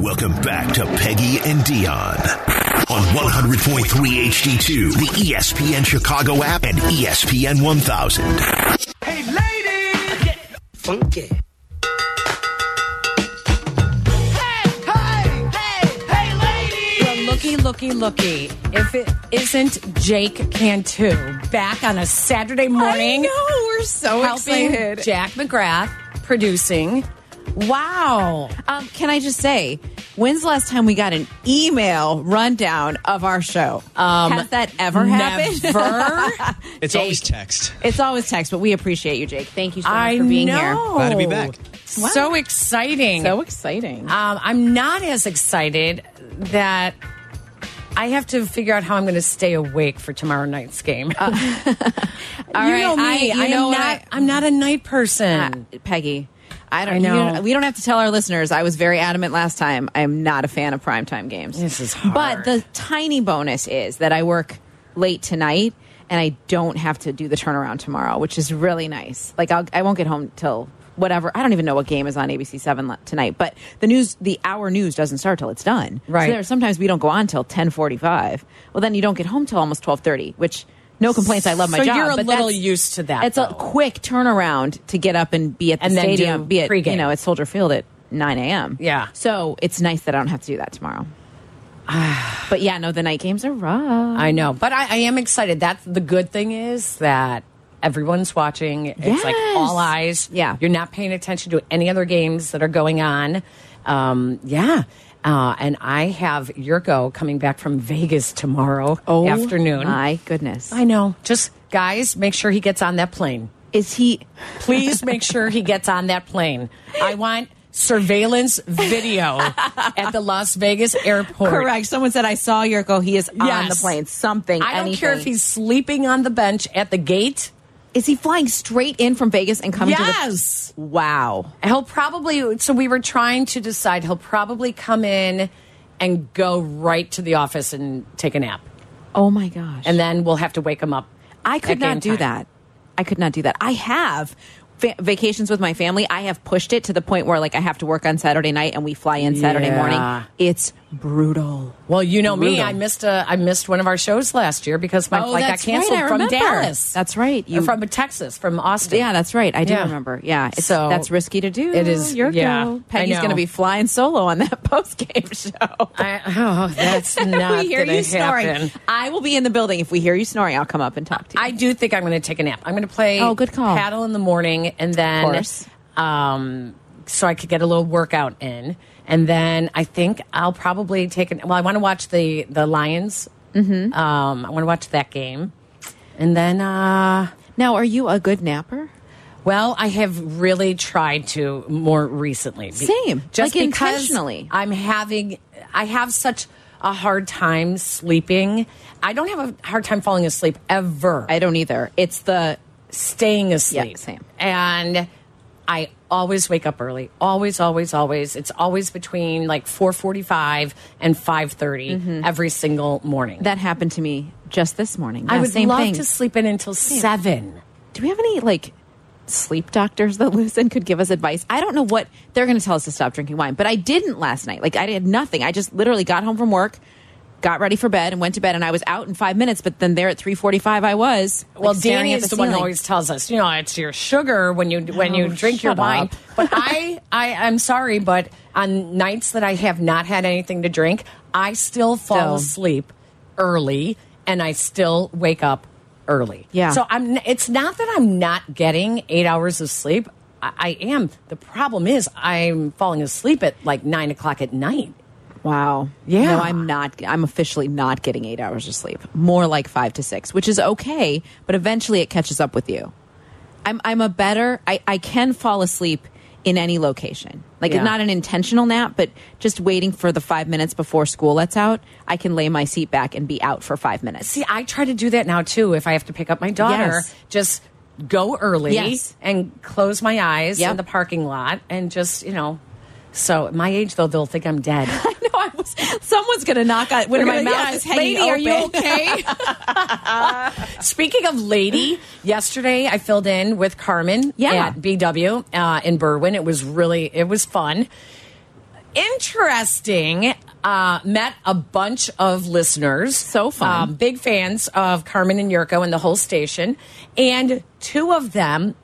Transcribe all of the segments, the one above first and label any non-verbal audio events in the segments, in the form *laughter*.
Welcome back to Peggy and Dion on 100.3 HD2, the E ESPN Chicago app, and E ESPN 1000. Hey, ladies! Get funky. Hey, hey, hey, hey, ladies! Well, looky, looky, looky. If it isn't Jake Cantu back on a Saturday morning. know, we're so helping excited. Jack McGrath producing. Wow. Um, can I just say, when's the last time we got an email rundown of our show? Um, Has that ever happened? *laughs* Never. It's always text. It's always text, but we appreciate you, Jake. Thank you so much I for being know. here. Glad to be back. Oh. So exciting. So exciting. Um, I'm not as excited that I have to figure out how I'm going to stay awake for tomorrow night's game. *laughs* All you right, know me. I- you am know what not. I- Uh, mm-hmm. am not a night person. Um, Peggy. I don't I you know. don't- we don't have to tell our listeners. I was very adamant last time. I am not a fan of primetime games. This is hard. But the tiny bonus is that I work late tonight and I don't have to do the turnaround tomorrow, which is really nice. Like I'll, I won't get home till whatever. I don't even know what game is on ABC Seven le- tonight. But the news, the hour news doesn't start till it's done. Right. So there, sometimes we don't go on till ten forty-five. Well, then you don't get home till almost twelve thirty, which. No complaints. I love my So job. you're a but little that's- used to that, It's a though. quick turnaround to get up and be at the And then do stadium, be at pregame. you know at Soldier Field at nine a.m. Yeah. So it's nice that I don't have to do that *sighs* tomorrow. But yeah, no, the night games are rough. I know, but I, I am excited. That's the good thing is that everyone's watching. It's like Yes. all eyes. Yeah. you're not paying attention to any other games that are going on. Um, yeah. Uh, and I have Yurko coming back from Vegas tomorrow afternoon. Oh My goodness. I know. Just guys, make sure he gets on that plane. Is he Please make sure he gets on that plane. I want surveillance video at the Las Vegas airport. correct? Someone said I saw Yurko. He is on the Yes. plane. Something. I don't care if anything. he's sleeping on the bench at the gate. Is he flying straight in from Vegas and coming Yes. to the Wow. He'll probably, so we were trying to decide, he'll probably come in and go right to the office and take a nap. Oh my gosh. And then we'll have to wake him up. I at could not game do time. that. I could not do that. I have fa- vacations with my family. I have pushed it to the point where like I have to work on Saturday night and we fly in Saturday Yeah. morning. It's brutal. Well, you know me, Brutal. I missed a I missed one of our shows last year because my Oh, flight got that's right, canceled I from remember. Dallas. That's right, you- Or from Texas, from Austin. Yeah, that's right. I do Yeah. remember. Yeah, it's, So- that's risky to do. It is- Your yeah, go. I Peggy's know. going to be flying solo on that *laughs* post game show. I, oh, that's *laughs* not we hear gonna you snoring. happen. I will be in the building. If we hear you snoring, I'll come up and talk to you. I do think I'm going to take a nap. I'm going to play Oh, good call. paddle in the morning and then course. um so I could get a little workout in. And then I think I'll probably take an well, I want to watch the the Lions. Mm-hmm. Um I want to watch that game. And then uh now, are you a good napper? well, I have really tried to more recently. Be- Same. just Like, because intentionally. I'm having, I have such a hard time sleeping. I don't have a hard time falling asleep ever. I don't either. It's the staying asleep. Yeah, same. And I always wake up early. Always, always, always. It's always between like 4:45 and 5:30 every single morning. Mm-hmm. that happened to me just this morning. I Yeah, would same love thing. to sleep in until 7. do we have any like sleep doctors that *laughs* Lucen could give us advice? I don't know what they're going to tell us to stop drinking wine, but I didn't last night. Like I did nothing. I just literally got home from work, got ready for bed, and went to bed. And I was out in five minutes, but then there at three forty-five, I was. like, Well, staring Danny at is the, the one who ceiling. always tells us, you know, it's your sugar when you when Oh, you drink your shut wine. up. But *laughs* I, I, I'm sorry, but on nights that I have not had anything to drink, I still fall Still. asleep early, and I still wake up early. Yeah. So I'm. n- It's not that I'm not getting eight hours of sleep. I, I am. The problem is I'm falling asleep at like nine o'clock at night. Wow. Yeah. No, I'm not. I'm officially not getting eight hours of sleep. More like five to six, which is okay, but eventually it catches up with you. I'm, I'm a better, I, I can fall asleep in any location. Like, Yeah. not an intentional nap, but just waiting for the five minutes before school lets out, I can lay my seat back and be out for five minutes. *laughs* See, I try to do that now too. If I have to pick up my daughter, Yes. just go early Yes. and close my eyes Yep. in the parking lot and just, you know. So at my age though, they'll think I'm dead. no, I was, someone's going to knock on, when my They're gonna, mouth "Yeah, is hanging lady, are you open. okay? *laughs* Speaking of lady, yesterday I filled in with Carmen Yeah. at BW uh, in Berwyn. It was really, it was fun. interesting. Uh, met a bunch of listeners. Um, So fun. big fans of Carmen and Yurko and the whole station. And two of them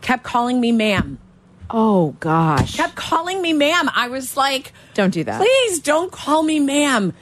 kept calling me ma'am. *laughs* Oh gosh. Kept calling me ma'am. I was like, Don't do that. Please don't call me ma'am.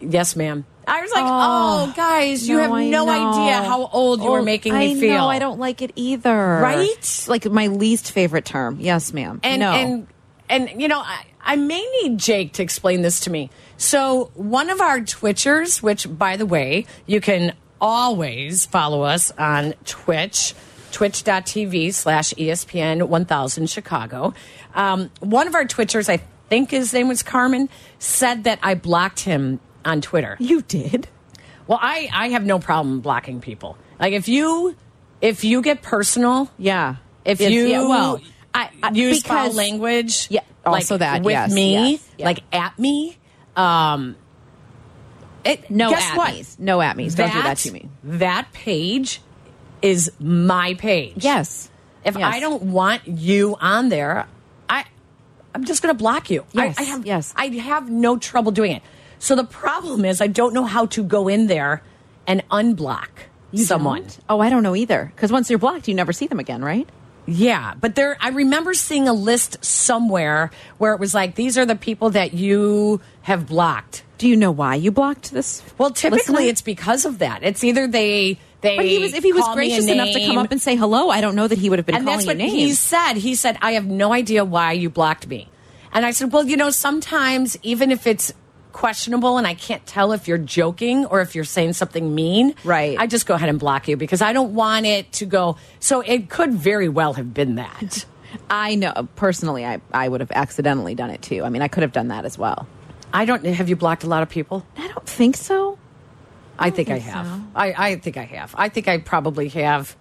Yes, ma'am. I was like, oh, guys, you have I no know. idea how old you were Old- making me I feel. know, I don't like it either. Right? It's like my least favorite term. Yes, ma'am. and no. and and you know I, I may need jake to explain this to me so one of our twitchers which by the way you can always follow us on twitch twitch.tv slash E espn 1000 chicago um, one of our twitchers i think his name was carmen said that i blocked him on twitter you did. well i i have no problem blocking people like if you if you get personal Yeah. if It's- you yeah, well, I, I use foul because language, Yeah, also like, that, with yes, me, yes, yeah. like at me, um, it, no guess at what? me's. No at me's. Don't do that to me. That page is my page. Yes. If Yes. I don't want you on there, I I'm just going to block you. Yes, I, I have yes. I have no trouble doing it. So the problem is I don't know how to go in there and unblock You someone. don't? Oh, I don't know either. Because once you're blocked, you never see them again, right? Yeah, but there I remember seeing a list somewhere where it was like these are the people that you have blocked. Do you know why you blocked this? Well, typically listener? it's because of that. It's either they they But he was if he was call me a gracious enough to come name, up and say hello, I don't know that he would have been and calling that's what you names. he said. He said, "I have no idea why you blocked me." And I said, "Well, you know, sometimes even if it's questionable and I can't tell if you're joking or if you're saying something mean, Right. I just go ahead and block you because I don't want it to go. So it could very well have been that. I know personally, I, I would have accidentally done it too. I mean, I could have done that as well. I don't have you blocked a lot of people. I don't think so. I think I think have. so. I, I think I have. I think I probably have.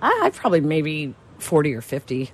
I, I probably maybe forty or fifty,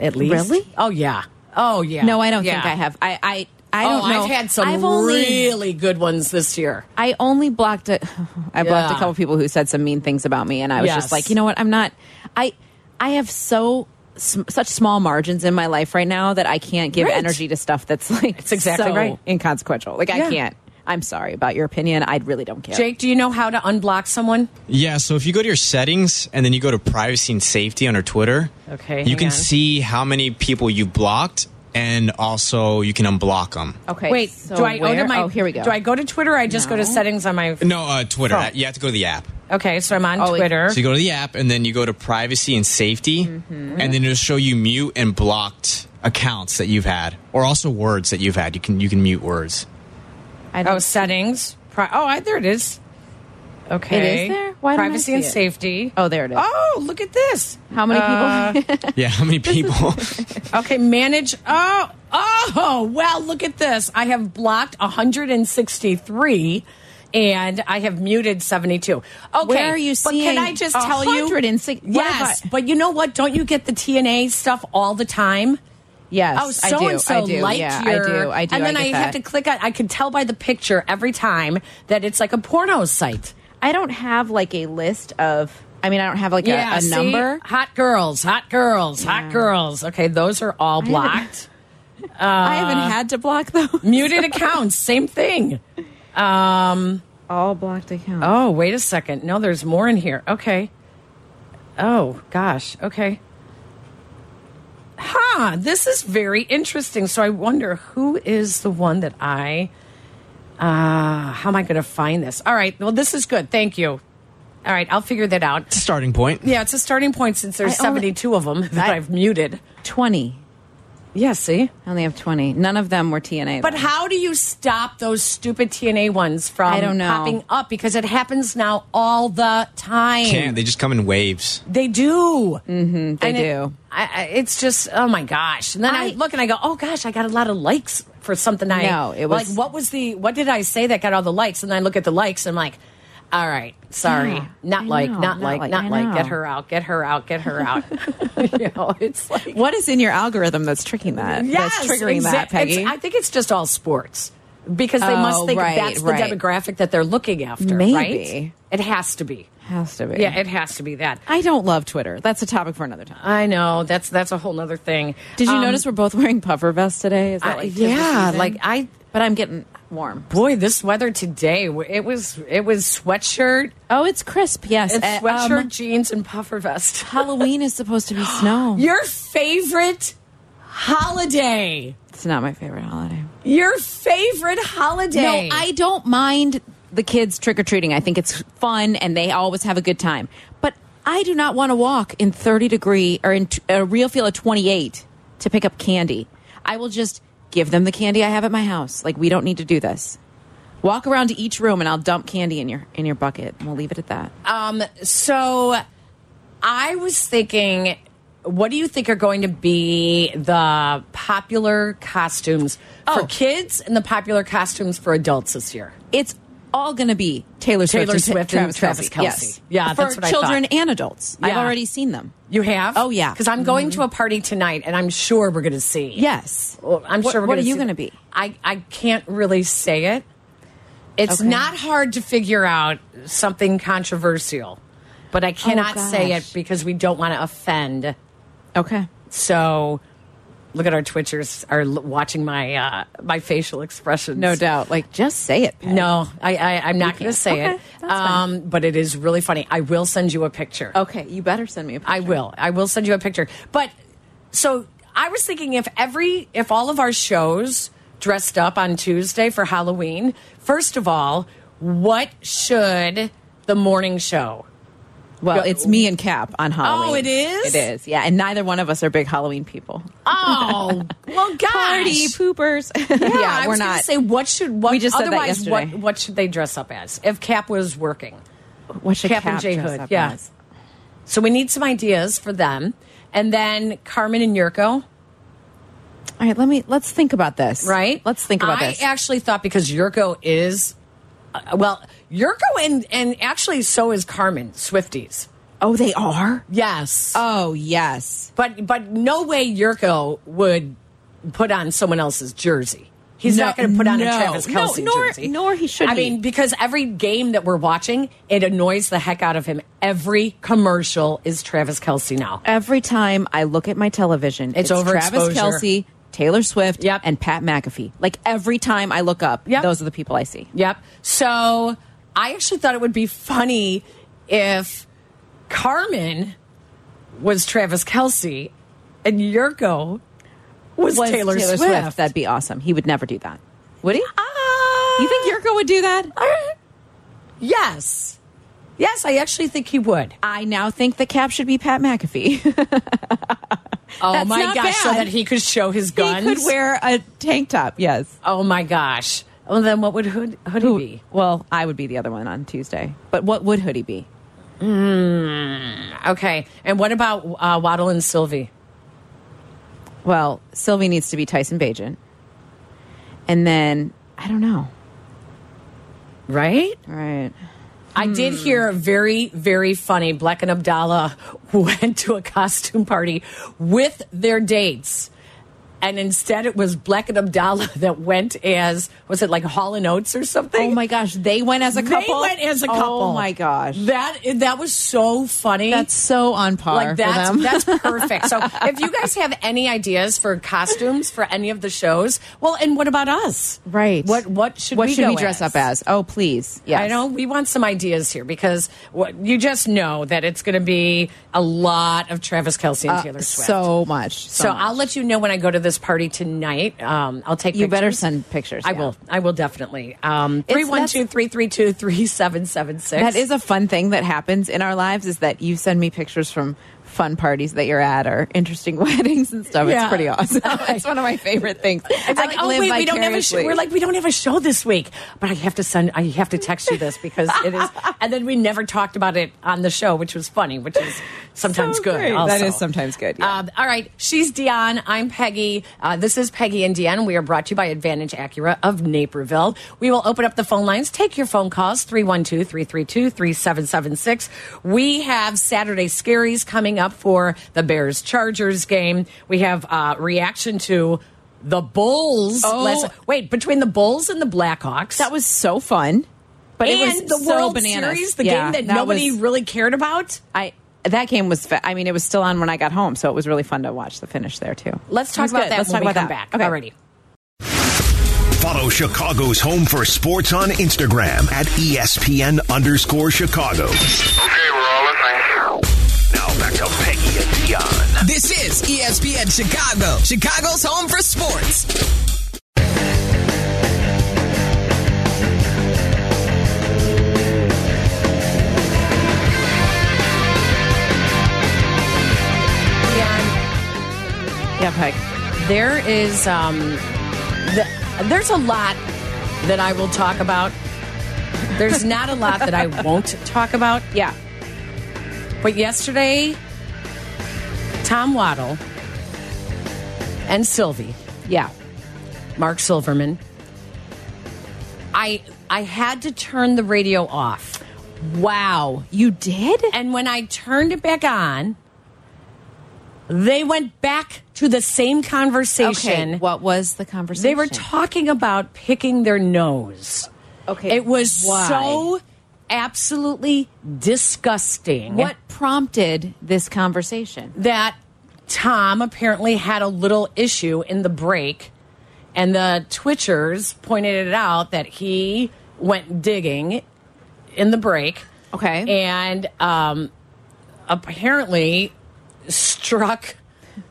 at least. Really? Oh yeah. Oh yeah. No, I don't Yeah. think I have. I I, I Oh, don't know. I've had some I've only, really good ones this year. I only blocked a, *laughs* I blocked Yeah. a couple people who said some mean things about me, and I was Yes. just like, you know what? I'm not. I I have so sm such small margins in my life right now that I can't give Right. energy to stuff that's like It's exactly so right. inconsequential. Like Yeah. I can't. I'm sorry about your opinion. I really don't care. Jake, do you know how to unblock someone? Yeah, so if you go to your settings and then you go to privacy and safety under Twitter, Okay, hang you can on. see how many people you blocked and also you can unblock them. okay. Wait, so do I go to where- my? Oh, here we go. Do I go to Twitter? Or I just go to No. settings on my. No, uh, Twitter. Phone. You have to go to the app. Okay, so I'm on Oh, it- Twitter. So you go to the app and then you go to privacy and safety Mm-hmm. and then it'll show you mute and blocked accounts that you've had or also words that you've had. You can you can *laughs* mute words. I don't Oh, settings. Pri oh, I, there it is. Okay. It is there? Why don't I Privacy see and it? safety. Oh, there it is. Oh, uh, look at this. How many people? Yeah, *laughs* how many people? *laughs* Okay, manage. Oh, oh, well, look at this. I have blocked 163 and I have muted 72. Okay. Where are you But seeing can I just tell you? 106 what have Yes. I- But you know what? Don't you get the TNA stuff all the time? *laughs* yes. Oh, I so do, and so I do. liked yeah, I your. do. I do. And then I, get have that. to click on. I could tell by the picture every time that it's like a porno site. I don't have like a list of. I mean, I don't have like a, a see? number. Hot girls, hot girls, hot girls. Okay, those are all haven't- blocked. I haven't had to block those. *laughs* *laughs* Muted accounts, same thing. All blocked accounts. Oh, wait a second. No, there's more in here. Okay. Oh, gosh. Okay. Huh. This is very interesting. So I wonder who is the one that I. Uh, how am I going to find this? All right. Well, this is good. Thank you. All right. I'll figure that out. Starting point. Yeah, it's a starting point since there's I only- 72 of them that I- I've muted. Twenty. Yeah, see? I only have twenty. None of them were TNA. But though. how do you stop those stupid TNA ones from I don't know. popping up? Because it happens now all the time. Can't. They just come in waves. They do. Mm-hmm, they do. I, I, it's just oh my gosh. And then I, I- look and I go, oh gosh, I got a lot of likes for something. I No, it was- like what was the what did I say that got all the likes? And I look at the likes and I'm like, all right, sorry, Yeah, not I like, know, not not like, like, not I like. Get know. her out. Get her out. Get her *laughs* out. *laughs* you know, it's like What is in your algorithm that's tricking that? yes, that's triggering that, exact- it's- Peggy. I think it's just all sports because they Oh, must think right, that's the right. demographic that they're looking after. Maybe. right? it has to be. has to be. Yeah, it has to be that. I don't love Twitter. That's a topic for another time. I know that's that's a whole nother thing. Did you Um, notice we're both wearing puffer vests today? Is I- that like 'cause of the yeah, season? like I but I'm getting warm. boy, this weather today w- it was it was sweatshirt, Oh, it's crisp. Yes, it's Uh, um, sweatshirt, jeans, and puffer *laughs* vest. Halloween is supposed *gasps* to be snow. Your favorite holiday. it's not my favorite holiday. Your favorite holiday. No, I don't mind the kids trick or treating. I think it's fun and they always have a good time. But I do not want to walk in 30 degree or in t- a real feel of 28 to pick up candy. I will just give them the candy I have at my house. Like we don't need to do this. Walk around to each room and I'll dump candy in your in your bucket and we'll leave it at that. Um, so I was thinking, what do you think are going to be the popular costumes for Oh. kids and the popular costumes for adults this year? It's all going to be Taylor Swift, Taylor and Ta- Swift and Travis Kelce. Kelce. Yes. Yeah, for that's what I children thought. and adults. I've Yeah. already seen them. You have? Oh, yeah. Because I'm going to a party tonight, and I'm sure we're going to see. Yes. Well, I'm What- sure. We're what gonna are you see- going to be? I I can't really say it. It's Okay. not hard to figure out something controversial, but I cannot say Oh, gosh. it because we don't want to offend. Okay. So, look at our twitchers are l- watching my uh, my facial expressions. No doubt. Like, just say it. Pat. No, I, I I'm not going can't. to say Okay, it. Um, that's fine. but it is really funny. I will send you a picture. Okay, you better send me a picture. I will. I will send you a picture. But so I was thinking if every if all of our shows dressed up on Tuesday for Halloween, first of all, what should the morning show? Well, it's me and Cap on Halloween. Oh, it is? It is. Yeah, and neither one of us are big Halloween people. *laughs* Oh, well, gosh. Party poopers. *laughs* Yeah, I we're was gonna not. Say what should what We just said that otherwise what yesterday. what should they dress up as if Cap was working? what should Cap and J dress Hood, up yeah. as? So we need some ideas for them, and then Carmen and Yurko. All right, let me let's think about this. right? Let's think about I this. actually thought because Yurko is, uh, well, Yurko and and actually so is Carmen Swifties. oh, they are. Yes, Oh, yes. but but no way Yurko would put on someone else's jersey. He's No, not going to put on a no, Travis no, Kelsey nor- jersey. nor he should I be. mean, because every game that we're watching, it annoys the heck out of him. Every commercial is Travis Kelsey now. Every time I look at my television, It's overexposure. Travis Kelsey, Taylor Swift, Yep. and Pat McAfee. Like every time I look up, Yep. those are the people I see. Yep. So I actually thought it would be funny if Carmen was Travis Kelsey and Yurko was, Was Taylor, Swift. That'd be awesome. He would never do that. Would he? Ah. You think Yurko would do that? Yes. Yes, I actually think he would. I now think the cap should be Pat McAfee. *laughs* Oh That's my not gosh! So bad. that he could show his he guns. could wear a tank top. Yes. oh my gosh! Well, then what would hood, hoodie be? Well, I would be the other one on Tuesday. But what would hoodie be? Okay. And what about uh, Waddle and Sylvie? Well, Sylvie needs to be Tyson Bajan. And then I don't know. Right? All right. I Hmm. did hear a very, very funny Black and Abdallah *laughs* went to a costume party with their dates. And instead it was Black and Abdallah *laughs* that went as was it like Hall and Oates or something? Oh my gosh, they went as a couple. They went as a couple. Oh my gosh. That that was so funny. That's so on par like that's for them. *laughs* that's perfect. So if you guys have any ideas for costumes for any of the shows, well, and what about us? right. What what should what we should go we dress up as? Oh, please. Yes. I know we want some ideas here because what, you just know that it's going to be a lot of Travis Kelsey and Taylor Swift. Uh, So much. So, So much. I'll let you know when I go to this party tonight. Um, I'll take You better pictures. send pictures, I yeah. will. I will definitely. Um, It's- three one two three three two three seven seven six. That is a fun thing that happens in our lives is that you send me pictures from fun parties that you're at or interesting *laughs* weddings and stuff. Yeah. It's pretty *laughs* awesome. it's one of my favorite things. It's like, oh wait, we don't have a show. We're like, we don't have a show this week, but I have to send. I have to text you this because *laughs* it is. And then we never talked about it on the show, which was funny, which is sometimes So good. great. also. That is sometimes good, yeah. Um, all right, she's Dion. I'm Peggy. Uh, this is Peggy and Dion. We are brought to you by Advantage Acura of Naperville. We will open up the phone lines. Take your phone calls 312-332-3776. We have Saturday Scaries coming up for the Bears Chargers game. We have uh, reaction to. The Bulls. Oh. Wait, between the Bulls and the Blackhawks. that was so fun. But it was and the so World bananas. Series, the Yeah, game that, that nobody was- really cared about. I that game was. Fa- I mean, it was still on when I got home, so it was really fun to watch the finish there too. Let's It talk was about good. that Let's when talk we about that. come back. Alrighty. Follow Chicago's home for sports on Instagram at E ESPN underscore Chicago. Okay, we're all listening. Now back to Peggy and Dion. This is ESPN Chicago, Chicago's home for sports. Yeah, Peg. There is um, th there's a lot that I will talk about. There's not a *laughs* lot that I won't talk about. Yeah. But yesterday, Tom Waddle and Sylvie, Yeah. Mark Silverman, I I had to turn the radio off. Wow. You did? And when I turned it back on, they went back to the same conversation. Okay. What was the conversation? They were talking about picking their nose. Okay. It was why? so absolutely disgusting. What prompted this conversation? that Tom apparently had a little issue in the break, and the Twitchers pointed it out that he went digging in the break Okay. and um, apparently struck.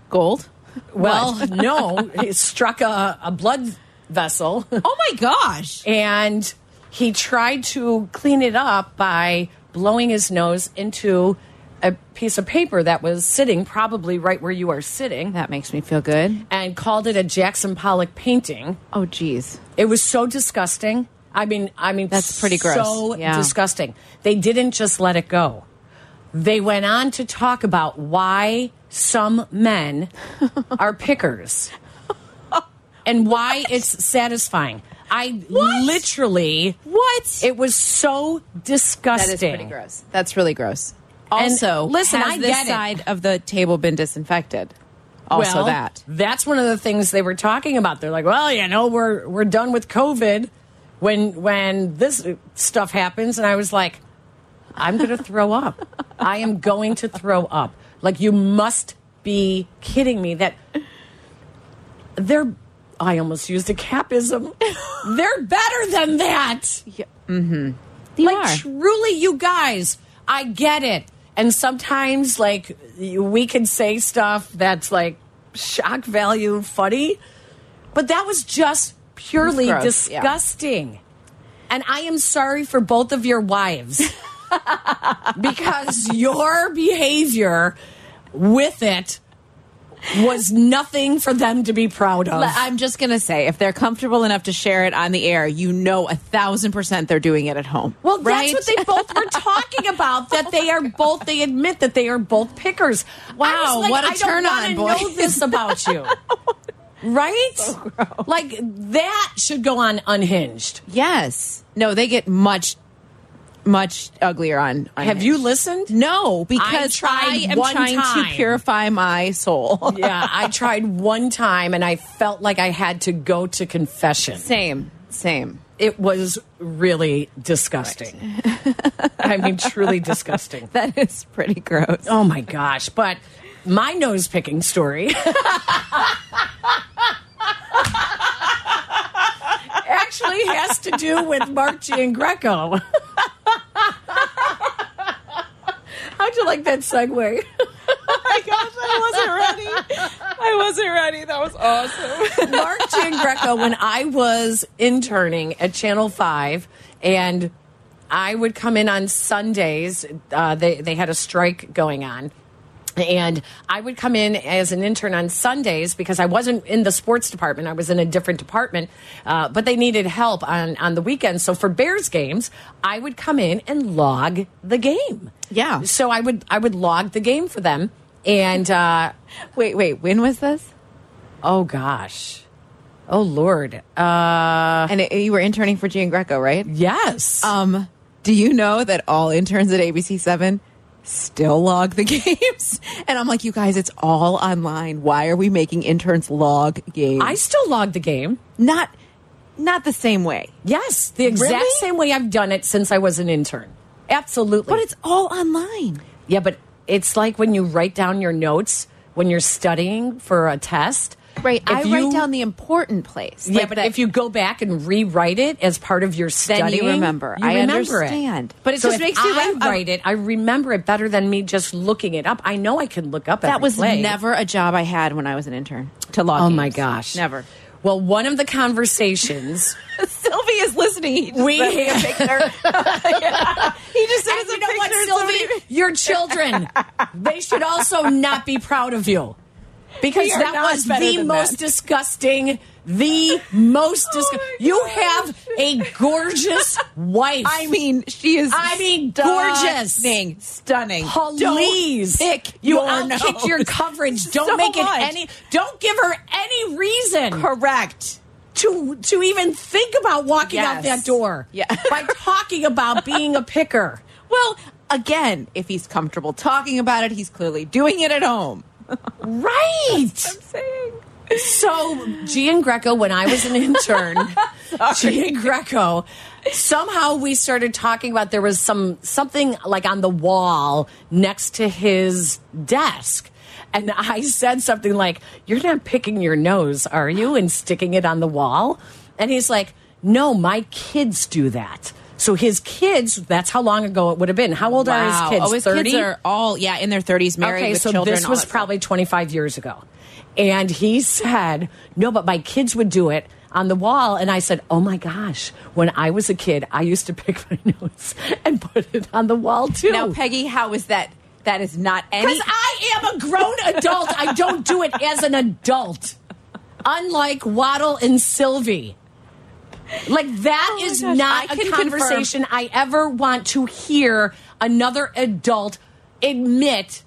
gold. Well, no, it struck a, a blood vessel. Oh my gosh. and he tried to clean it up by blowing his nose into a piece of paper that was sitting probably right where you are sitting That makes me feel good. and called it a Jackson Pollock painting. Oh geez. It was so disgusting. I mean, I mean That's pretty gross. So Yeah. disgusting. They didn't just let it go. They went on to talk about why some men *laughs* are pickers and why it's satisfying. I literally What? it was so that disgusting. is pretty gross. That's really gross. And Also, listen, has I this get it. side of the table been disinfected? Also well, that. That's one of the things they were talking about. They're like, well, you know, we're we're done with COVID when when this stuff happens, and I was like, I'm going to throw up. I am going to throw up. Like you must be kidding me that they're. I almost used a capism. they're better than that. You like truly you guys i get it and sometimes like we can say stuff that's like shock value funny but that was just purely It was gross, yeah. disgusting and i am sorry for both of *laughs* your wives because your behavior with it was nothing for them to be proud of Le- I'm just gonna say, if they're comfortable enough to share it on the air, you know a thousand percent they're doing it at home. Well, right? that's what they both *laughs* were talking about. That they are both. They admit that they are both pickers. I Wow, was like, what a I don't turn on, wanna boy. Know this *laughs* about you, right? Like that should go on unhinged. yes. No, they get much, much uglier on. on Have you Hinge. listened? No, because tried I am one trying time. to purify my soul. *laughs* Yeah, I tried one time and I felt like I had to go to confession. Same, same. It was really disgusting. I mean, *laughs* truly disgusting. That is pretty *laughs* gross. Oh my gosh. But my nose picking story. actually has to do with Mark Greco. How'd you like that segue? my gosh, I wasn't ready. I wasn't ready. That was awesome. Mark Greco, when I was interning at Channel 5, and I would come in on Sundays, uh, they, they had a strike going on. And I would come in as an intern on Sundays because I wasn't in the sports department. I was in a different department, uh, but they needed help on, on the weekends. So for Bears games, I would come in and log the game. Yeah. So I would I would log the game for them, and uh, Wait, wait. When was this? oh gosh, oh lord, uh, and it, you were interning for Gian Greco, right? yes. Um, do you know that all interns at ABC Seven still log the *laughs* games? And I'm like, you guys, it's all online. Why are we making interns log games? I still log the game. not not the same way. Yes, the exact Really? same way I've done it since I was an intern. Absolutely. But it's all online. yeah, but it's like when you write down your notes when you're studying for a test. Right. If I you- write down the important place. Yeah, Like but that- if you go back and rewrite it as part of your you studying, remember. you I remember it. understand. But it So just if makes you I laugh. write it. I remember it better than me just looking it up. I know I can look up. that every was play. never a job I had when I was an intern to log Oh games. my *laughs* gosh, Never. Well, one of the conversations Sylvia's listening. *laughs* we have. He just sent And you know what, Sylvie? Your children, they should also not be proud of you. Because We are that not was better the than most that. Oh disgusting, the *laughs* most disgusting. my you gosh. have a gorgeous wife. I mean, she is. I mean, gorgeous. stunning, stunning. Don't Please, pick you your outkick nose. your *laughs* coverage. Don't So make it much. any. Don't give her any reason correct. to to even think about walking out Yes. that door. Yeah. by talking about being a *laughs* picker. Well, again, if he's comfortable talking about it, he's clearly doing it at home. Right. Saying So Gian Greco, when I was *laughs* an intern, Gian Greco, somehow we started talking about there was some something like on the wall next to his desk. And I said something like, You're not picking your nose, are you? And sticking it on the wall. And he's like, No, my kids do that. So his kids, that's how long ago it would have been. How old wow. are his kids? Oh, his 30? kids are all yeah in their thirties, married okay, with so children. this all was that stuff. probably 25 years ago. And he said, No, but my kids would do it on the wall. And I said, Oh my gosh, when I was a kid, I used to pick *laughs* my nose and put it on the wall too. Now, Peggy, how is that? That is not any. Because I am a grown adult. I don't do it as an adult. Unlike Waddle and Sylvie. Like that Oh my is gosh. not I can a confirm- conversation I ever want to hear another adult admit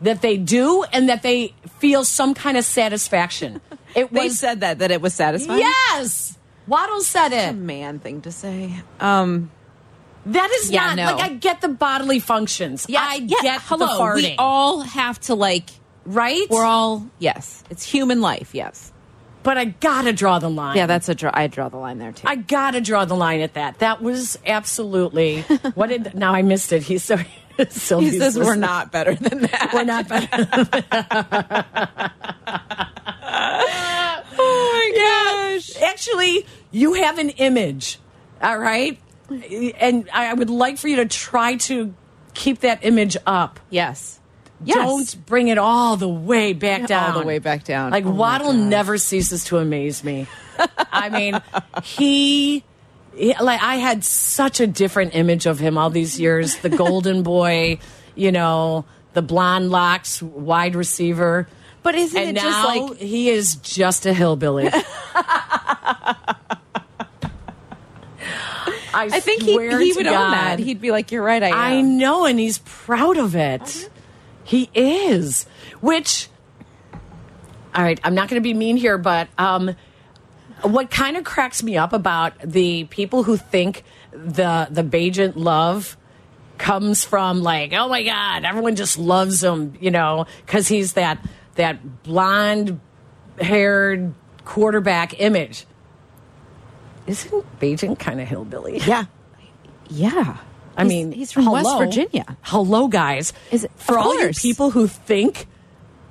that they do and that they feel some kind of satisfaction. It they was said that that it was satisfying. Yes. Waddle said A it. man thing to say. Um, That is Yeah, not no. like I get the bodily functions. I yeah, get hello. the farting. We all have to like. right? We're all yes. It's human life. Yes. but I gotta draw the line. Yeah, that's a draw. I draw the line there *laughs* too. I gotta draw the line at that. That was absolutely what did now I missed it. He's so *laughs* Sylvia's he says we're listening. not *laughs* better than that. *laughs* we're not better. *laughs* Oh my gosh. Actually, you have an image, all right? And I I would like for you to try to keep that image up. Yes. Yes. Don't bring it all the way back Yeah, all down. the way back down. Like Oh my Waddle gosh. never ceases to *laughs* amaze me. I mean, he, he- like I had such a different image of him all these years. *laughs* The golden boy, you know, the blonde locks, wide receiver. But isn't and it now just like he is just *laughs* a hillbilly. I, I think he, swear he to would own that. God. He'd be like, "You're right. I I am." know, and he's proud of it. He is. Which, all right, I'm not going to be mean here, but um, what kind of cracks me up about the people who think the the Bajent love comes from like, oh my God, everyone just loves him, you know, because he's that that blonde haired quarterback image. Isn't Bajent kind of hillbilly? Yeah. Yeah. I He's- mean, he's from West Virginia. Hello, guys. Is it- for of all you course. people who think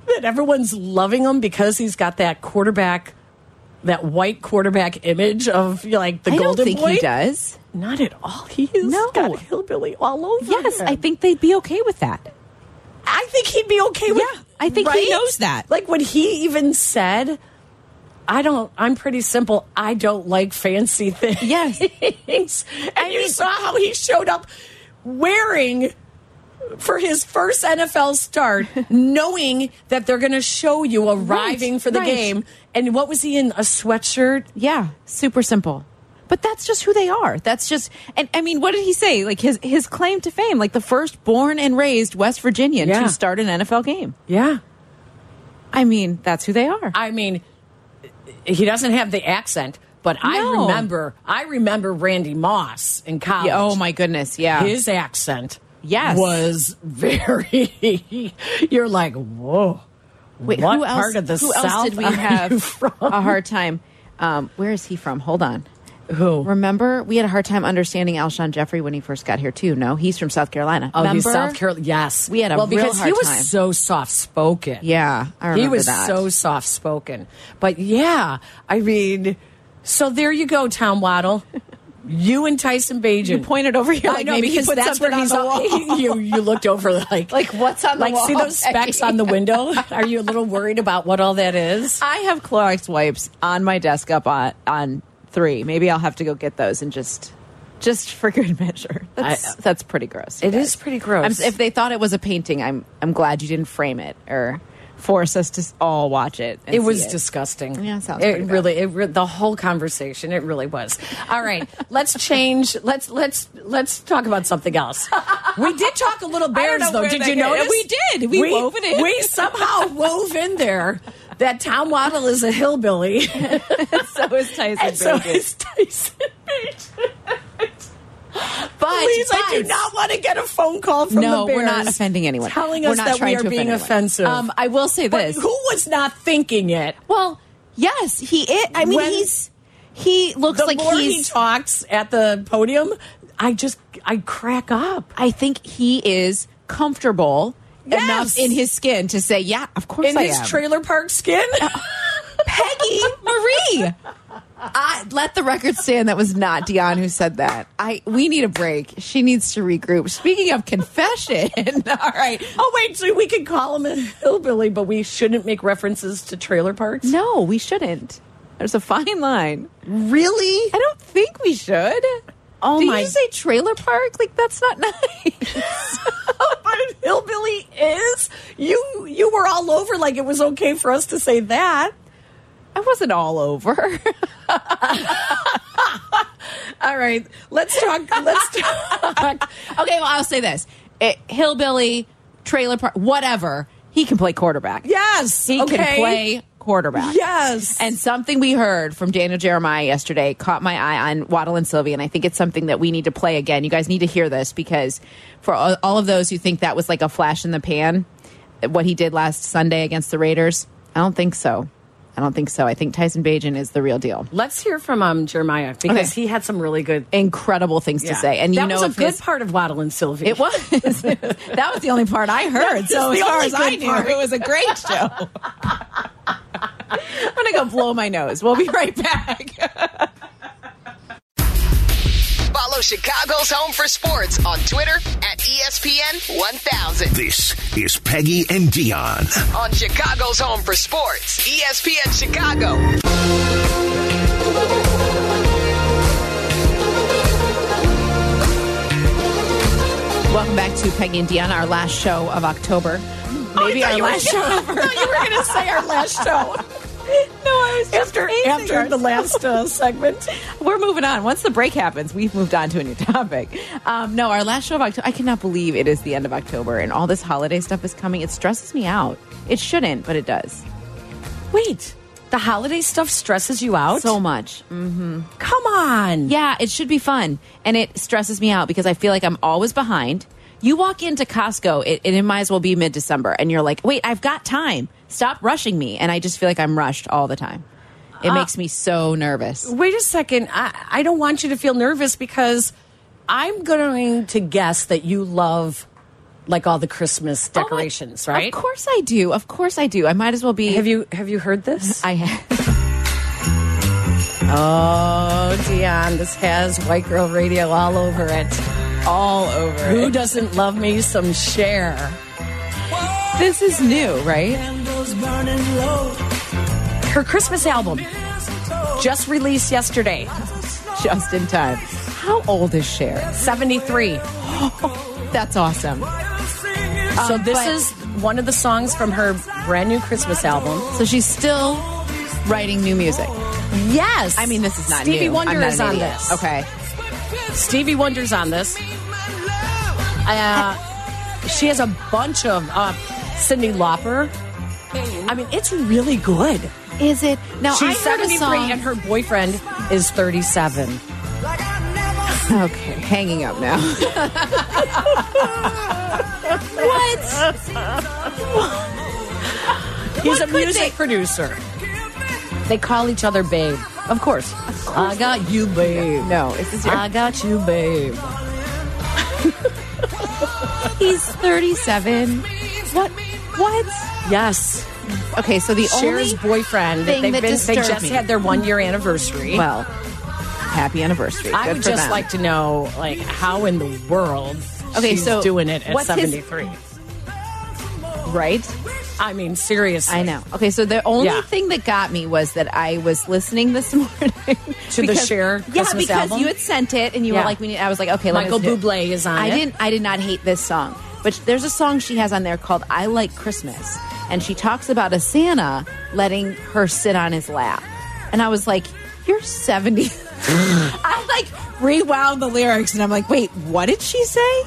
that everyone's loving him because he's got that quarterback, that white quarterback image of you know, like the I golden don't think boy? he does. Not at all. He is No. got hillbilly all over. Yes, him. I think they'd be okay with that. I think he'd be okay with. Yeah, I think he right? knows that. Like when he even said, "I don't. I'm pretty simple. I don't like fancy things." Yes. *laughs* and you saw how he showed up wearing for his first NFL *laughs* start, knowing that they're going to show you arriving for the right. game. And what was he in? A sweatshirt. Yeah, super simple. But that's just who they are. That's just, and I mean, what did he say? Like his his claim to fame, like the first born and raised West Virginian Yeah. to start an NFL game. Yeah. I mean, that's who they are. I mean, he doesn't have the accent, but I No. remember. I remember Randy Moss in college. Yeah, oh my goodness, yeah. his accent Yes. was very *laughs* you're like whoa Wait, what who else, part of the who south else did we are have you *laughs* from a hard time? Um, where is he from? Hold on. Who? Remember, we had a hard time understanding Alshon Jeffrey when he first got here too. No, he's from South Carolina. Oh, he's Remember? South Carolina. Yes, We had a well real because he hard was time. so soft spoken. Yeah, I he remember was that. so soft spoken. But yeah, I mean, so there you go, Tom *laughs* Waddle. You and Tyson Bajan. You pointed over here. I like, know maybe he because put that's something what on he's the wall. *laughs* you you looked over like Like, what's on the like see wall, *laughs* those specks Peggy? on the window. *laughs* Are you a little worried about what all that is? I have Clorox wipes on my desk up on on three. Maybe I'll have to go get those and just just for good *laughs* measure. That's I- that's pretty gross. you It guys. is pretty gross. I'm s- if they thought it was a painting, I'm I'm glad you didn't frame it or force us to s- all watch it. and it see *laughs* was disgusting. Yeah, sounds it pretty bad. really it re the whole conversation it really was. *laughs* All right, let's change. Let's let's let's talk about something else. We did talk *laughs* a little bears know though. where Did that you got- notice? we did. We wove it in. We somehow wove in there that Tom Waddle is a hillbilly. So is Tyson and so Baker. is Tyson Bajan. *laughs* but Please, I do but- not want to get a phone call from no, the Bears. we're not offending anyone. Telling We're us not that we trying are to offend being anyone. offensive. Um, I will say But this. who was not thinking it? well, yes, he is. I mean, When- he's he looks the like more he he's talks at the podium, I just I crack up. I think he is comfortable Yes. enough in his skin to say, "Yeah, of course In I his am." trailer park skin, *laughs* Peggy Marie. I, let the record stand. That was not Dion who said that. I we need a break. She needs to regroup. Speaking of confession, *laughs* all right. oh wait, so we could call him a hillbilly, but we shouldn't make references to trailer parks. No, we shouldn't. There's a fine line. Really? I don't think we should. Oh Did my- you say trailer park? Like that's not *laughs* nice. *laughs* What a hillbilly is? You you were all over like it was okay for us to say that. I wasn't all over. *laughs* *laughs* All right, let's talk. *laughs* Let's talk. Okay, well, I'll say this: it, hillbilly, trailer park, whatever. He can play quarterback. Yes, he okay. can play quarterback. Yes. And something we heard from Daniel Jeremiah yesterday caught my eye on Waddle and Sylvie, and I think it's something that we need to play again. You guys need to hear this because for all all of those who think that was like a flash in the pan, what he did last Sunday against the Raiders, I don't think so. I don't think so. I think Tyson Bajan is the real deal. Let's hear from um, Jeremiah because Okay. he had some really good Incredible things to Yeah. say, and that you know was a if good his- part of Waddle and Sylvie. It *laughs* was. that was the only part I heard. So was as the far only as I good knew, part. it was a *laughs* great show. I'm gonna go blow my nose. We'll be right back. Follow Chicago's Home for Sports on Twitter at E ESPN 1000. This is Peggy and Dion. On Chicago's Home for Sports, E ESPN Chicago. Welcome back to Peggy and Dion, our last show of October. Maybe our last show ever. *laughs* I thought you were gonna say our last show. No, I was just after teasing after the ourselves. last uh, segment. We're moving on. Once the break happens, we've moved on to a new topic. Um, no, our last show of October. I cannot believe it is the end of October and all this holiday stuff is coming. It stresses me out. It shouldn't, but it does Wait, the holiday stuff stresses you out? so much. Mm. come on. Yeah, it should be fun, and it stresses me out because I feel like I'm always behind. You walk into Costco, it, it might as well be mid December, and you're like, "Wait, I've got time. Stop rushing me." And I just feel like I'm rushed all the time. It makes me so nervous. Wait a second. I, I don't want you to feel nervous because I'm going to guess that you love like all the Christmas Oh my- decorations, right? Of course I do. Of course I do. I might as well be. Have you have you heard this? *laughs* I have. *laughs* oh, Dion, this has White Girl Radio all over it. all over. Who doesn't love me some share? This is new, right? Her Christmas album just released yesterday, Just in time. How old is Cher? *laughs* 73. That's awesome. So Um, this but- is one of the songs from her brand new Christmas album. So she's still writing new music. Yes. I mean, this is not Stevie new. I'm Wonder not is an on idiot. this. Okay. Stevie Wonder's on this. Uh, she has a bunch of uh, Cindy Lauper. I mean, it's really good. Is it now? She's I heard a 73 song. and her boyfriend is 37. *laughs* okay, hanging up now. *laughs* what? He's a could music they- producer. They call each other babe. Of course. I got you, babe. Uh, No, it's this year. I got you, babe. he's 37. What? What? Yes. Okay, so the Cher's only boyfriend. thing they've that been, they disturbed just me- had their one year anniversary. well, happy anniversary. I Good would for just them. like to know, like, how in the world Okay, she's so doing it at what's his- 73. right. I mean, seriously. I know. Okay, so the only Yeah. thing that got me was that I was listening this *laughs* morning To the Cher Yeah, Christmas because album? you had sent it, and you Yeah. were like, "We need." I was like, "Okay, let me Michael listen to it." Bublé is on I it. didn't. I did not hate this song, but there's a song she has on there called "I Like Christmas," and she talks about a Santa letting her sit on his lap, and I was like, "You're 70." *laughs* I like rewound the lyrics, and I'm like, "Wait, what did she say?"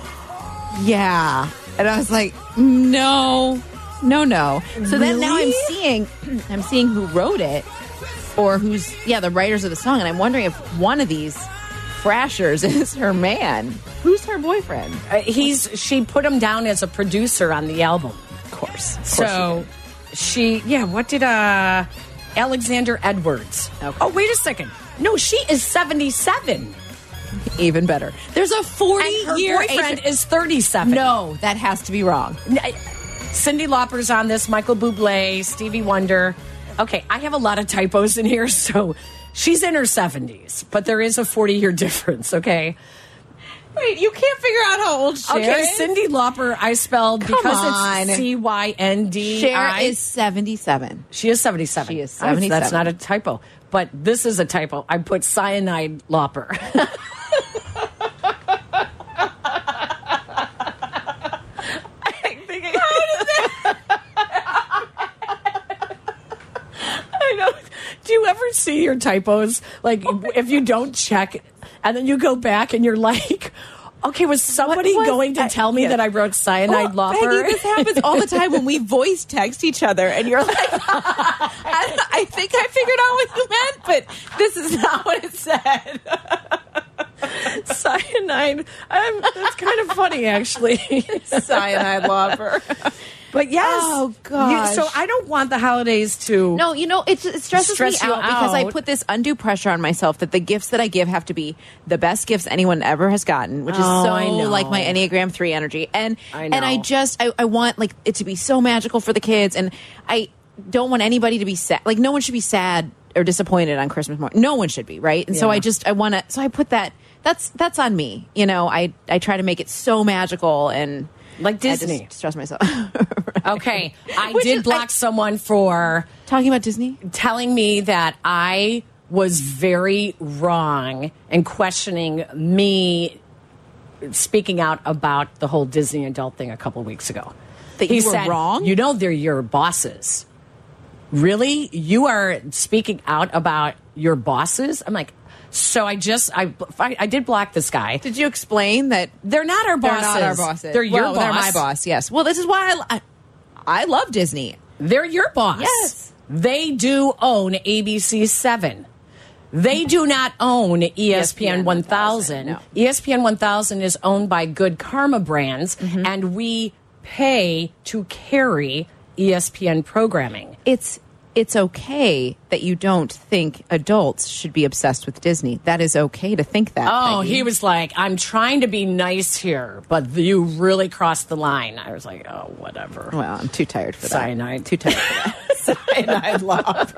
Yeah. And I was like, no, no, no. So then now I'm Really? seeing, *clears throat* I'm seeing who wrote it or who's, yeah, the writers of the song. And I'm wondering if one of these Frashers *laughs* is her man. Who's her boyfriend? Uh, he's she put him down as a producer on the album. Of course. So she, yeah, what did uh Alexander Edwards? Okay. Oh, wait a second. No, she is 77. even better. There's a 40 And her year boyfriend boyfriend is 37. No, that has to be wrong. Cindy Lauper's on this, Michael Bublé, Stevie Wonder. Okay, I have a lot of typos in here, *laughs* so she's in her 70s, but there is a 40 year *laughs* difference, okay? Wait, you can't figure out how old Cher Okay, is? Cindy Lauper, I spelled Come because on. it's C Y N D. Cher I. is 77. She is 77. She is All right, so That's 77. not a typo. But this is a typo. I put cyanide lopper. *laughs* I know. Do you ever see your typos? Like, Oh if you don't check, and then you go back and you're like, okay, was somebody was going to that? tell me Yeah. that I wrote cyanide Well, lopper? Peggy, this happens all the time when we voice text each other, and you're like, *laughs* I, don't- I think I figured out what you meant, but this is not what it said. cyanide. Um, that's kind of funny, *laughs* actually. Cyanide lover. But yes. Oh, You- so gosh. I don't want the holidays to. No, you know, it, it stresses Stress me you out, because I out. put this undue pressure on myself that the gifts that I give have to be the best gifts anyone ever has gotten, which is Oh, so I know. like my Enneagram 3 energy. And I and I know. just I, I want like it to be so magical for the kids and I don't want anybody to be sad. Like no one should be sad or disappointed on Christmas morning. No one should be, right? And so Yeah. I just I want to so I put that that's that's on me. You know, I I try to make it so magical and Like I just Disney. stress myself. *laughs* Okay. I Which did is- block I- someone for Talking about Disney? telling me that I was very wrong and questioning me speaking out about the whole Disney adult thing a couple weeks ago. That you were said, wrong? You know, they're your bosses. Really? You are speaking out about your bosses? I'm like, so I just, I, I, I did block this guy. Did you explain that They're not our They're bosses. not our bosses. They're your well, boss. They're my boss. Yes. Well, this is why I, I, I love Disney. They're your boss. Yes. They do own ABC 7. They do not own E ESPN, E 1000, 1000. no. ESPN 1000 is owned by Good Karma Brands, Mm-hmm. and we pay to carry E ESPN programming. It's it's okay that you don't think adults should be obsessed with Disney. That is okay to think that. Oh, Peggy. he was like, I'm trying to be nice here, but you really crossed the line. I was like, oh, whatever. Well, I'm too tired for that. Cyanide. Too *laughs* tired for that. Cyanide love.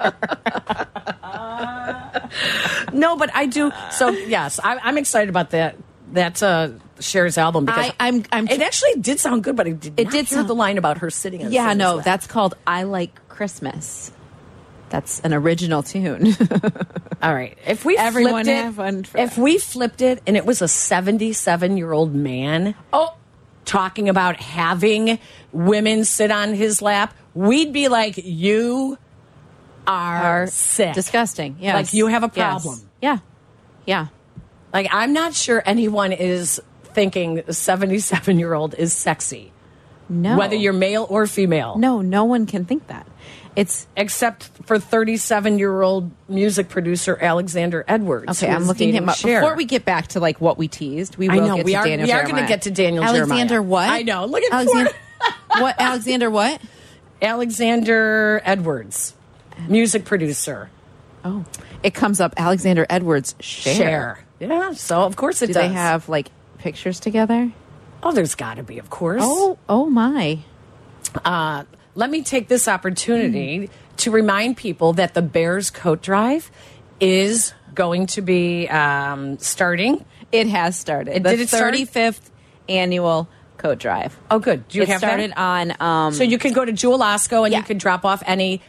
No, but I do. So yes, I, I'm excited about that. That uh, Cher's album because I- I'm- I'm- It actually did sound good, but I did. It not did hear sound- the line about her sitting. on Yeah, Santa's no, lap. that's called I Like Christmas. That's an original *laughs* tune. all right. If we Everyone flipped it, have one for if that. we flipped it, and it was a 77 year old man, oh, talking about having women sit on his lap, we'd be like, you are, sick, Disgusting. Yes. Like you have a Yes. problem. Yeah. Yeah. Like, I'm not sure anyone is thinking 77 year old is sexy, No. whether you're male or female. No, no one can think that. It's Except for 37 year old music producer Alexander Edwards. Okay, who I'm is looking dating him up. Cher. Before we get back to like what we teased, we will I know, get we to are- Daniel we are Jeremiah. gonna get to Daniel Alexander Jeremiah. what? I know, look at Alexander Florida. *laughs* What Alexander what? Alexander Edwards, music producer. Oh, it comes up Alexander Edwards share. Share. Yeah. So of course it Do does. they have like pictures together? Oh, there's got to be, of course. Oh, oh my. let me take this opportunity to remind people that the Bears coat drive is going to be um, starting. It has started. It- the did it start? 35th annual coat drive. Oh, good. Do you it have that? started on um So you can go to Jewel Osco and Yeah. you can drop off any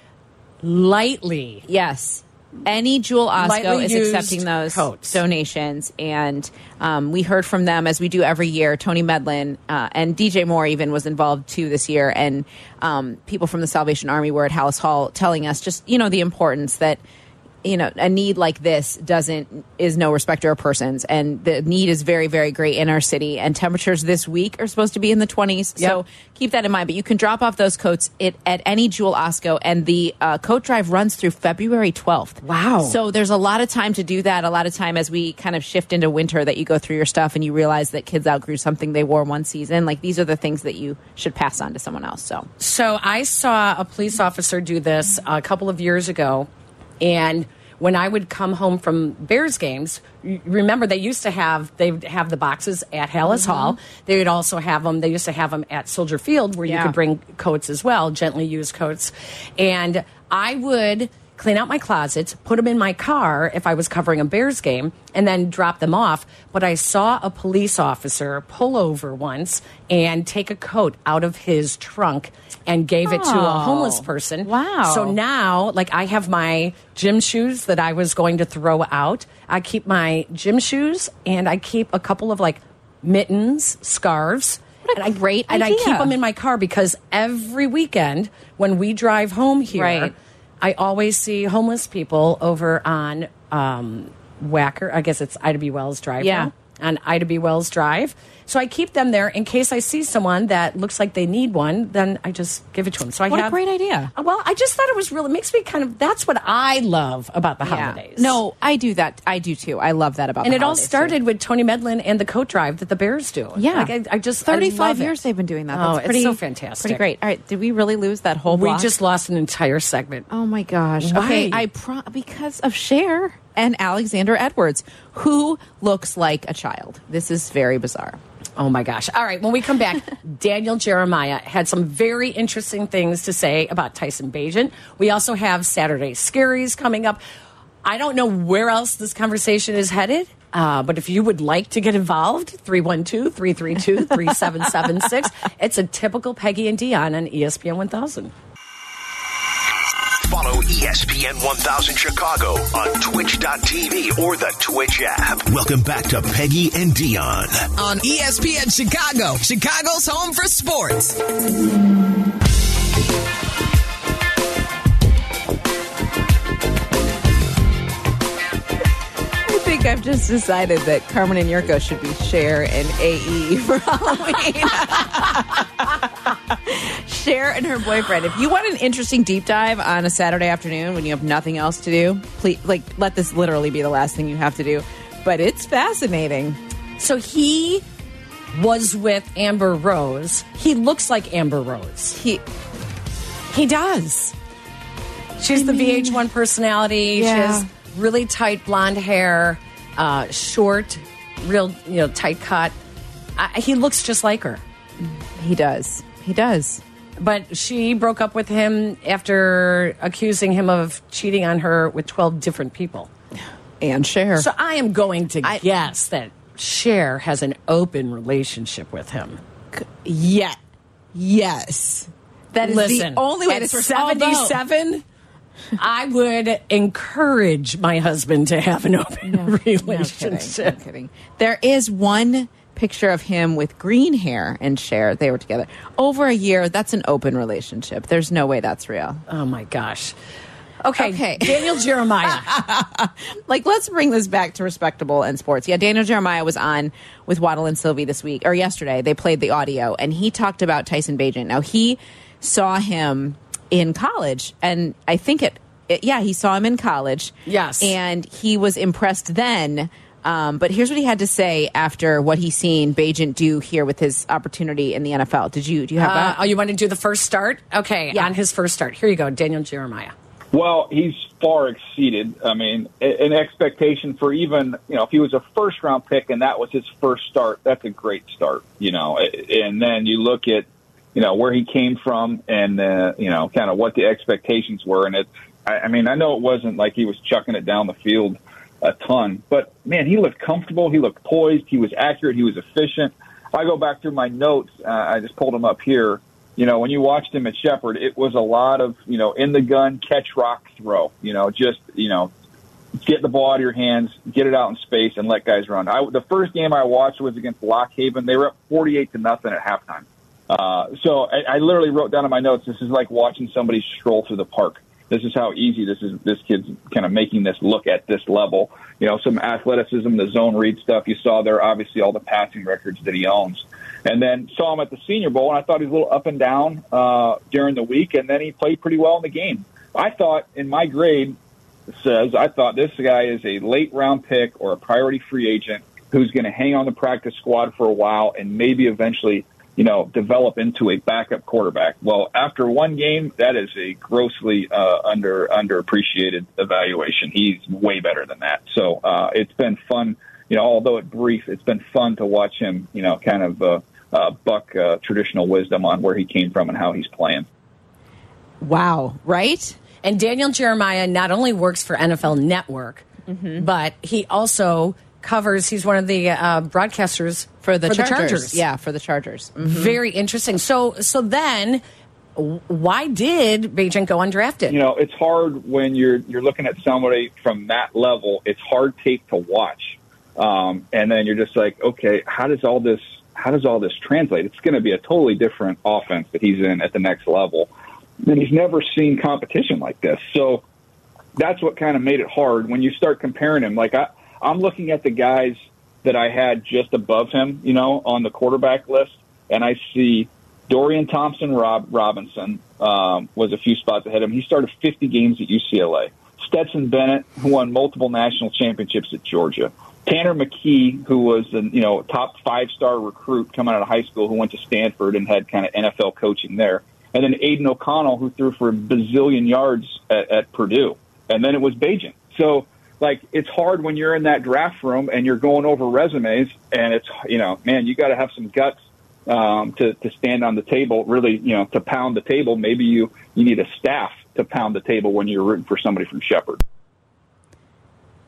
lightly. yes. Any Jewel Osco Lightly is used accepting those coats. donations, and um, we heard from them as we do every year. Tony Medlin uh, and DJ Moore even was involved too this year, and um, people from the Salvation Army were at House Hall telling us just you know the importance that you know a need like this doesn't is no respecter of persons and the need is very very great in our city and temperatures this week are supposed to be in the 20s so Yep. keep that in mind but you can drop off those coats it, at any jewel osco and the uh, coat drive runs through february 12th Wow. so there's a lot of time to do that a lot of time as we kind of shift into winter that you go through your stuff and you realize that kids outgrew something they wore one season like these are the things that you should pass on to someone else so So I saw a police officer do this a couple of years ago, and when I would come home from Bears games, y- remember they used to have they would have the boxes at Hallis Hall. They would also have them. They used to have them at Soldier Field where you Yeah. could bring coats as well, gently used coats, and I would. Clean out my closets, put them in my car if I was covering a Bears game, and then drop them off. But I saw a police officer pull over once and take a coat out of his trunk and gave gave it to a Oh. homeless person. Wow. So now, like, I have my gym shoes that I was going to throw out. I keep my gym shoes and I keep a couple of like mittens, scarves. What a and great I, And I keep idea. them in my car because every weekend when we drive home here, Right. I always see homeless people over on um, Wacker. I guess it's Ida B. Wells Drive. Yeah. now on Ida B. Wells Drive. So I keep them there in case I see someone that looks like they need one, then I just give it to them. So I What a have- great idea. Uh, Well, I just thought it was really makes me kind of that's what I love about the holidays. Yeah. No, I do that. I do too. I love that about. And the it all holidays, too. started with Tony Medlin and the coat drive that the Bears do. Yeah, like I, I just I thirty-five love it. years they've been doing that. Oh, That's pretty it's so fantastic, Pretty great. All right, did we really lose that whole? We block? just lost an entire segment. Oh my gosh. Okay, Why? I pro- because of Cher and Alexander Edwards, who looks like a child. This is very bizarre. Oh my gosh. All right. When we come back, Daniel Jeremiah had some very interesting things to say about Tyson Bajan. We also have Saturday Scaries coming up. I don't know where else this conversation is headed, uh, but if you would like to get involved, 312 332 3776. It's a typical Peggy and Dion on E ESPN 1000. Follow E ESPN 1000 Chicago on twitch.tv or the Twitch app. Welcome back to Peggy and Dion. On ESPN Chicago, Chicago's home for sports. I think I've just decided that Carmen and Yurko should be Cher and AE for Halloween. Cher and her boyfriend. If you want an interesting deep dive on a Saturday afternoon when you have nothing else to do, please like let this literally be the last thing you have to do. But it's fascinating. So he was with Amber Rose. He looks like Amber Rose. He He does. She's the VH1 personality. Yeah. She has really tight blonde hair, uh, short, real you know tight cut. I, he looks just like her. he does. He does. But she broke up with him after accusing him of cheating on her with twelve different people. And Cher. So I am going to I- guess that Cher has an open relationship with him. Yeah. Yes. that is Listen, the only way at this works. Although- seventy-seven. I would encourage my husband to have an open relationship. No kidding, no kidding. There is one picture of him with green hair and Cher. They were together over a year. That's an open relationship. There's no way that's real. Oh my gosh. Okay, Okay. *laughs* Uh, Daniel Jeremiah. Like, let's bring this back to respectable and sports. Yeah, Daniel Jeremiah was on with Waddle and Sylvie this week or yesterday. They played the audio and he talked about Tyson Bajan. Now he saw him in college, and I think it. it- yeah, he saw him in college. Yes. and he was impressed then. Um, but here's what he had to say after what he's seen Bajan do here with his opportunity in the NFL. Did you do you have Uh, that? oh, you want to do the first start? Okay, Yeah. on his first start. Here you go, Daniel Jeremiah. Well, he's far exceeded. I mean, a- an expectation for even you know if he was a first round pick and that was his first start, that's a great start. You know, A- and then you look at you know where he came from and uh, you know kind of what the expectations were, and it. I, I mean, I know it wasn't like he was chucking it down the field a ton, but man, he looked comfortable. He looked poised. He was accurate. He was efficient. If I go back through my notes, uh, I just pulled them up here you know, when you watched him at Shepherd, it was a lot of, you know, in the gun, catch rock, throw, you know, just, you know, get the ball out of your hands, get it out in space and let guys run. I, the first game I watched was against Lock Haven. They were up 48 to nothing at halftime. Uh, so I, I literally wrote down in my notes, this is like watching somebody stroll through the park. This is how easy this is. This kid's kind of making this look at this level. You know, some athleticism, the zone read stuff. You saw there, obviously, all the passing records that he owns. And then saw him at the Senior Bowl, and I thought he was a little up and down uh, during the week, and then he played pretty well in the game. I thought, in my grade, says, I thought this guy is a late round pick or a priority free agent who's going to hang on the practice squad for a while and maybe eventually, you know, develop into a backup quarterback. Well, after one game, that is a grossly uh, under underappreciated evaluation. He's way better than that. So uh, it's been fun, you know, although it brief, it's been fun to watch him, you know, kind of uh, uh, buck uh, traditional wisdom on where he came from and how he's playing. Wow. Right? And Daniel Jeremiah not only works for NFL Network, Mm-hmm. but he also covers. He's one of the uh, broadcasters For the, Chargers. Chargers. Yeah, for the Chargers. Mhm. very interesting. So, so then, w- why did Bajan go undrafted? you know, it's hard when you're you're looking at somebody from that level. It's hard tape to watch, um, and then you're just like, okay, how does all this how does all this translate? It's going to be a totally different offense that he's in at the next level, and he's never seen competition like this. So that's what kind of made it hard when you start comparing him. Like I, I'm looking at the guys that I had just above him, you know, on the quarterback list, and I see Dorian Thompson Rob Robinson um, was a few spots ahead of him. He started 50 games at UCLA. Stetson Bennett, who won multiple national championships at Georgia. Tanner McKee, who was a you know top five star recruit coming out of high school, who went to Stanford and had kind of NFL coaching there. And then Aiden O'Connell, who threw for a bazillion yards at, at Purdue and then it was Bajan. So like it's hard when you're in that draft room and you're going over resumes and it's you know man you got to have some guts um, to to stand on the table really you know to pound the table maybe you you need a staff to pound the table when you're rooting for somebody from Shepherd.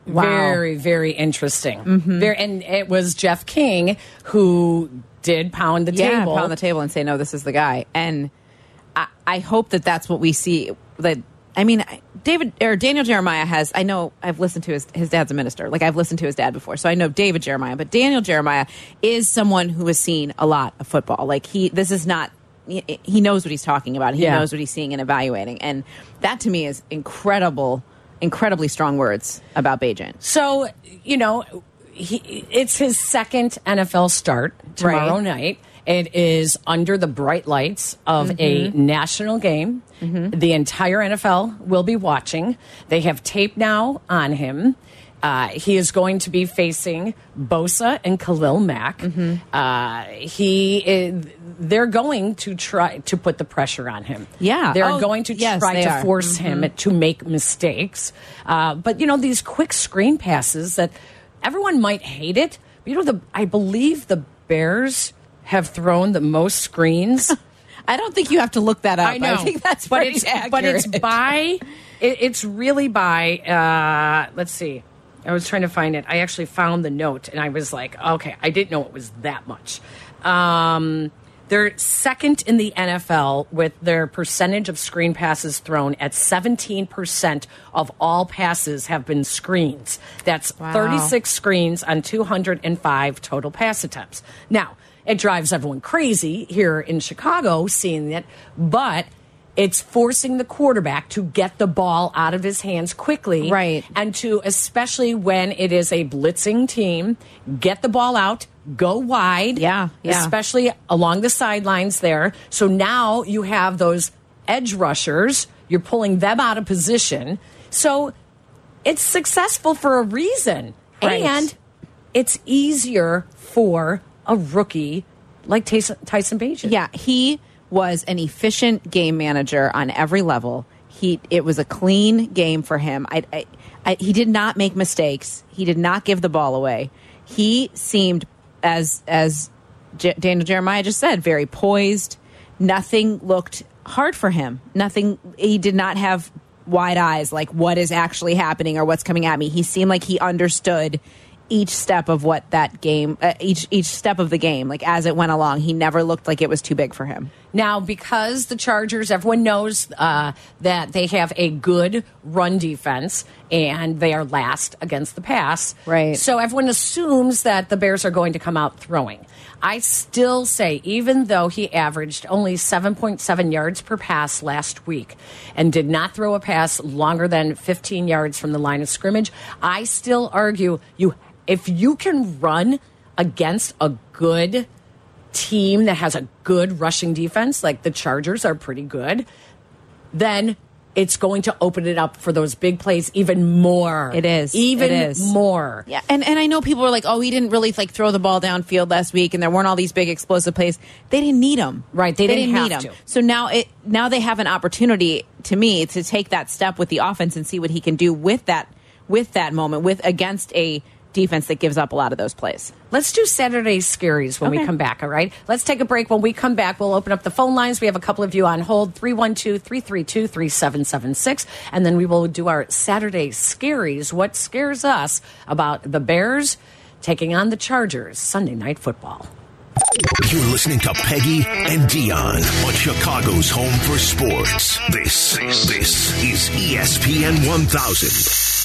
Wow. Very, very interesting. Very, and it was Jeff King who did pound the yeah, table. pound the table and say no this is the guy and i, I hope that that's what we see that i mean I- david or daniel jeremiah has i know i've listened to his, his dad's a minister like i've listened to his dad before so i know david jeremiah but daniel jeremiah is someone who has seen a lot of football like he this is not he he knows what he's talking about he Yeah. knows what he's seeing and evaluating and that to me is incredible incredibly strong words about Bajan. So, you know, he, it's his second NFL start tomorrow Right. night. It is under the bright lights of a national game. The entire NFL will be watching. They have tape now on him. Uh, he is going to be facing Bosa and Khalil Mack. Uh, he is, they're going to try to put the pressure on him. Yeah. they're Oh, going to yes, try they to are. Mm-hmm. force him to make mistakes. Uh, but you know these quick screen passes that everyone might hate it. but, You know the I believe the Bears have thrown the most *laughs* screens. I don't think you have to look that up. think that's but pretty it's but it's accurate. by it, it's really by. Uh, let's see. I was trying to find it. I actually found the note, and I was like, okay, I didn't know it was that much. Um, they're second in the NFL with their percentage of screen passes thrown at 17% of all passes have been screens. That's Wow. 36 screens on 205 total pass attempts. Now, it drives everyone crazy here in Chicago seeing it, but it's forcing the quarterback to get the ball out of his hands quickly. Right. And to, especially when it is a blitzing team, get the ball out, go wide. Yeah, yeah. Especially along the sidelines there. So now you have those edge rushers, you're pulling them out of position. So it's successful for a reason. Right. And it's easier for a rookie like Tyson, Tyson Bajan. Yeah, he was an efficient game manager on every level. He it was a clean game for him. I, I, I he did not make mistakes. He did not give the ball away. He seemed as as J- Daniel Jeremiah just said, very poised. Nothing looked hard for him. Nothing. He did not have wide eyes like what is actually happening or what's coming at me. He seemed like he understood each step of what that game, uh, each each step of the game, like as it went along. He never looked like it was too big for him. Now, because the Chargers, everyone knows uh, that they have a good run defense and they are last against the pass. Right. So everyone assumes that the Bears are going to come out throwing. I still say, even though he averaged only 7.7 yards per pass last week and did not throw a pass longer than 15 yards from the line of scrimmage, I still argue you if you can run against a good team that has a good rushing defense, like the Chargers are pretty good, then it's going to open it up for those big plays even more. It is. Even It is. more. Yeah, and and I know people were like, "Oh, he didn't really like throw the ball downfield last week, and there weren't all these big explosive plays." They didn't need him, Right, they didn't have need him. to. So now it now they have an opportunity to me to take that step with the offense and see what he can do with that with that moment with against a defense that gives up a lot of those plays. Let's do Saturday's scaries when we Okay. come back, all right? Let's take a break. When we come back, we'll open up the phone lines. We have a couple of you on hold 312 332 3776. And then we will do our Saturday scaries. What scares us about the Bears taking on the Chargers Sunday night football? You're listening to Peggy and Dion on Chicago's E home for sports. This, this is ESPN 1000.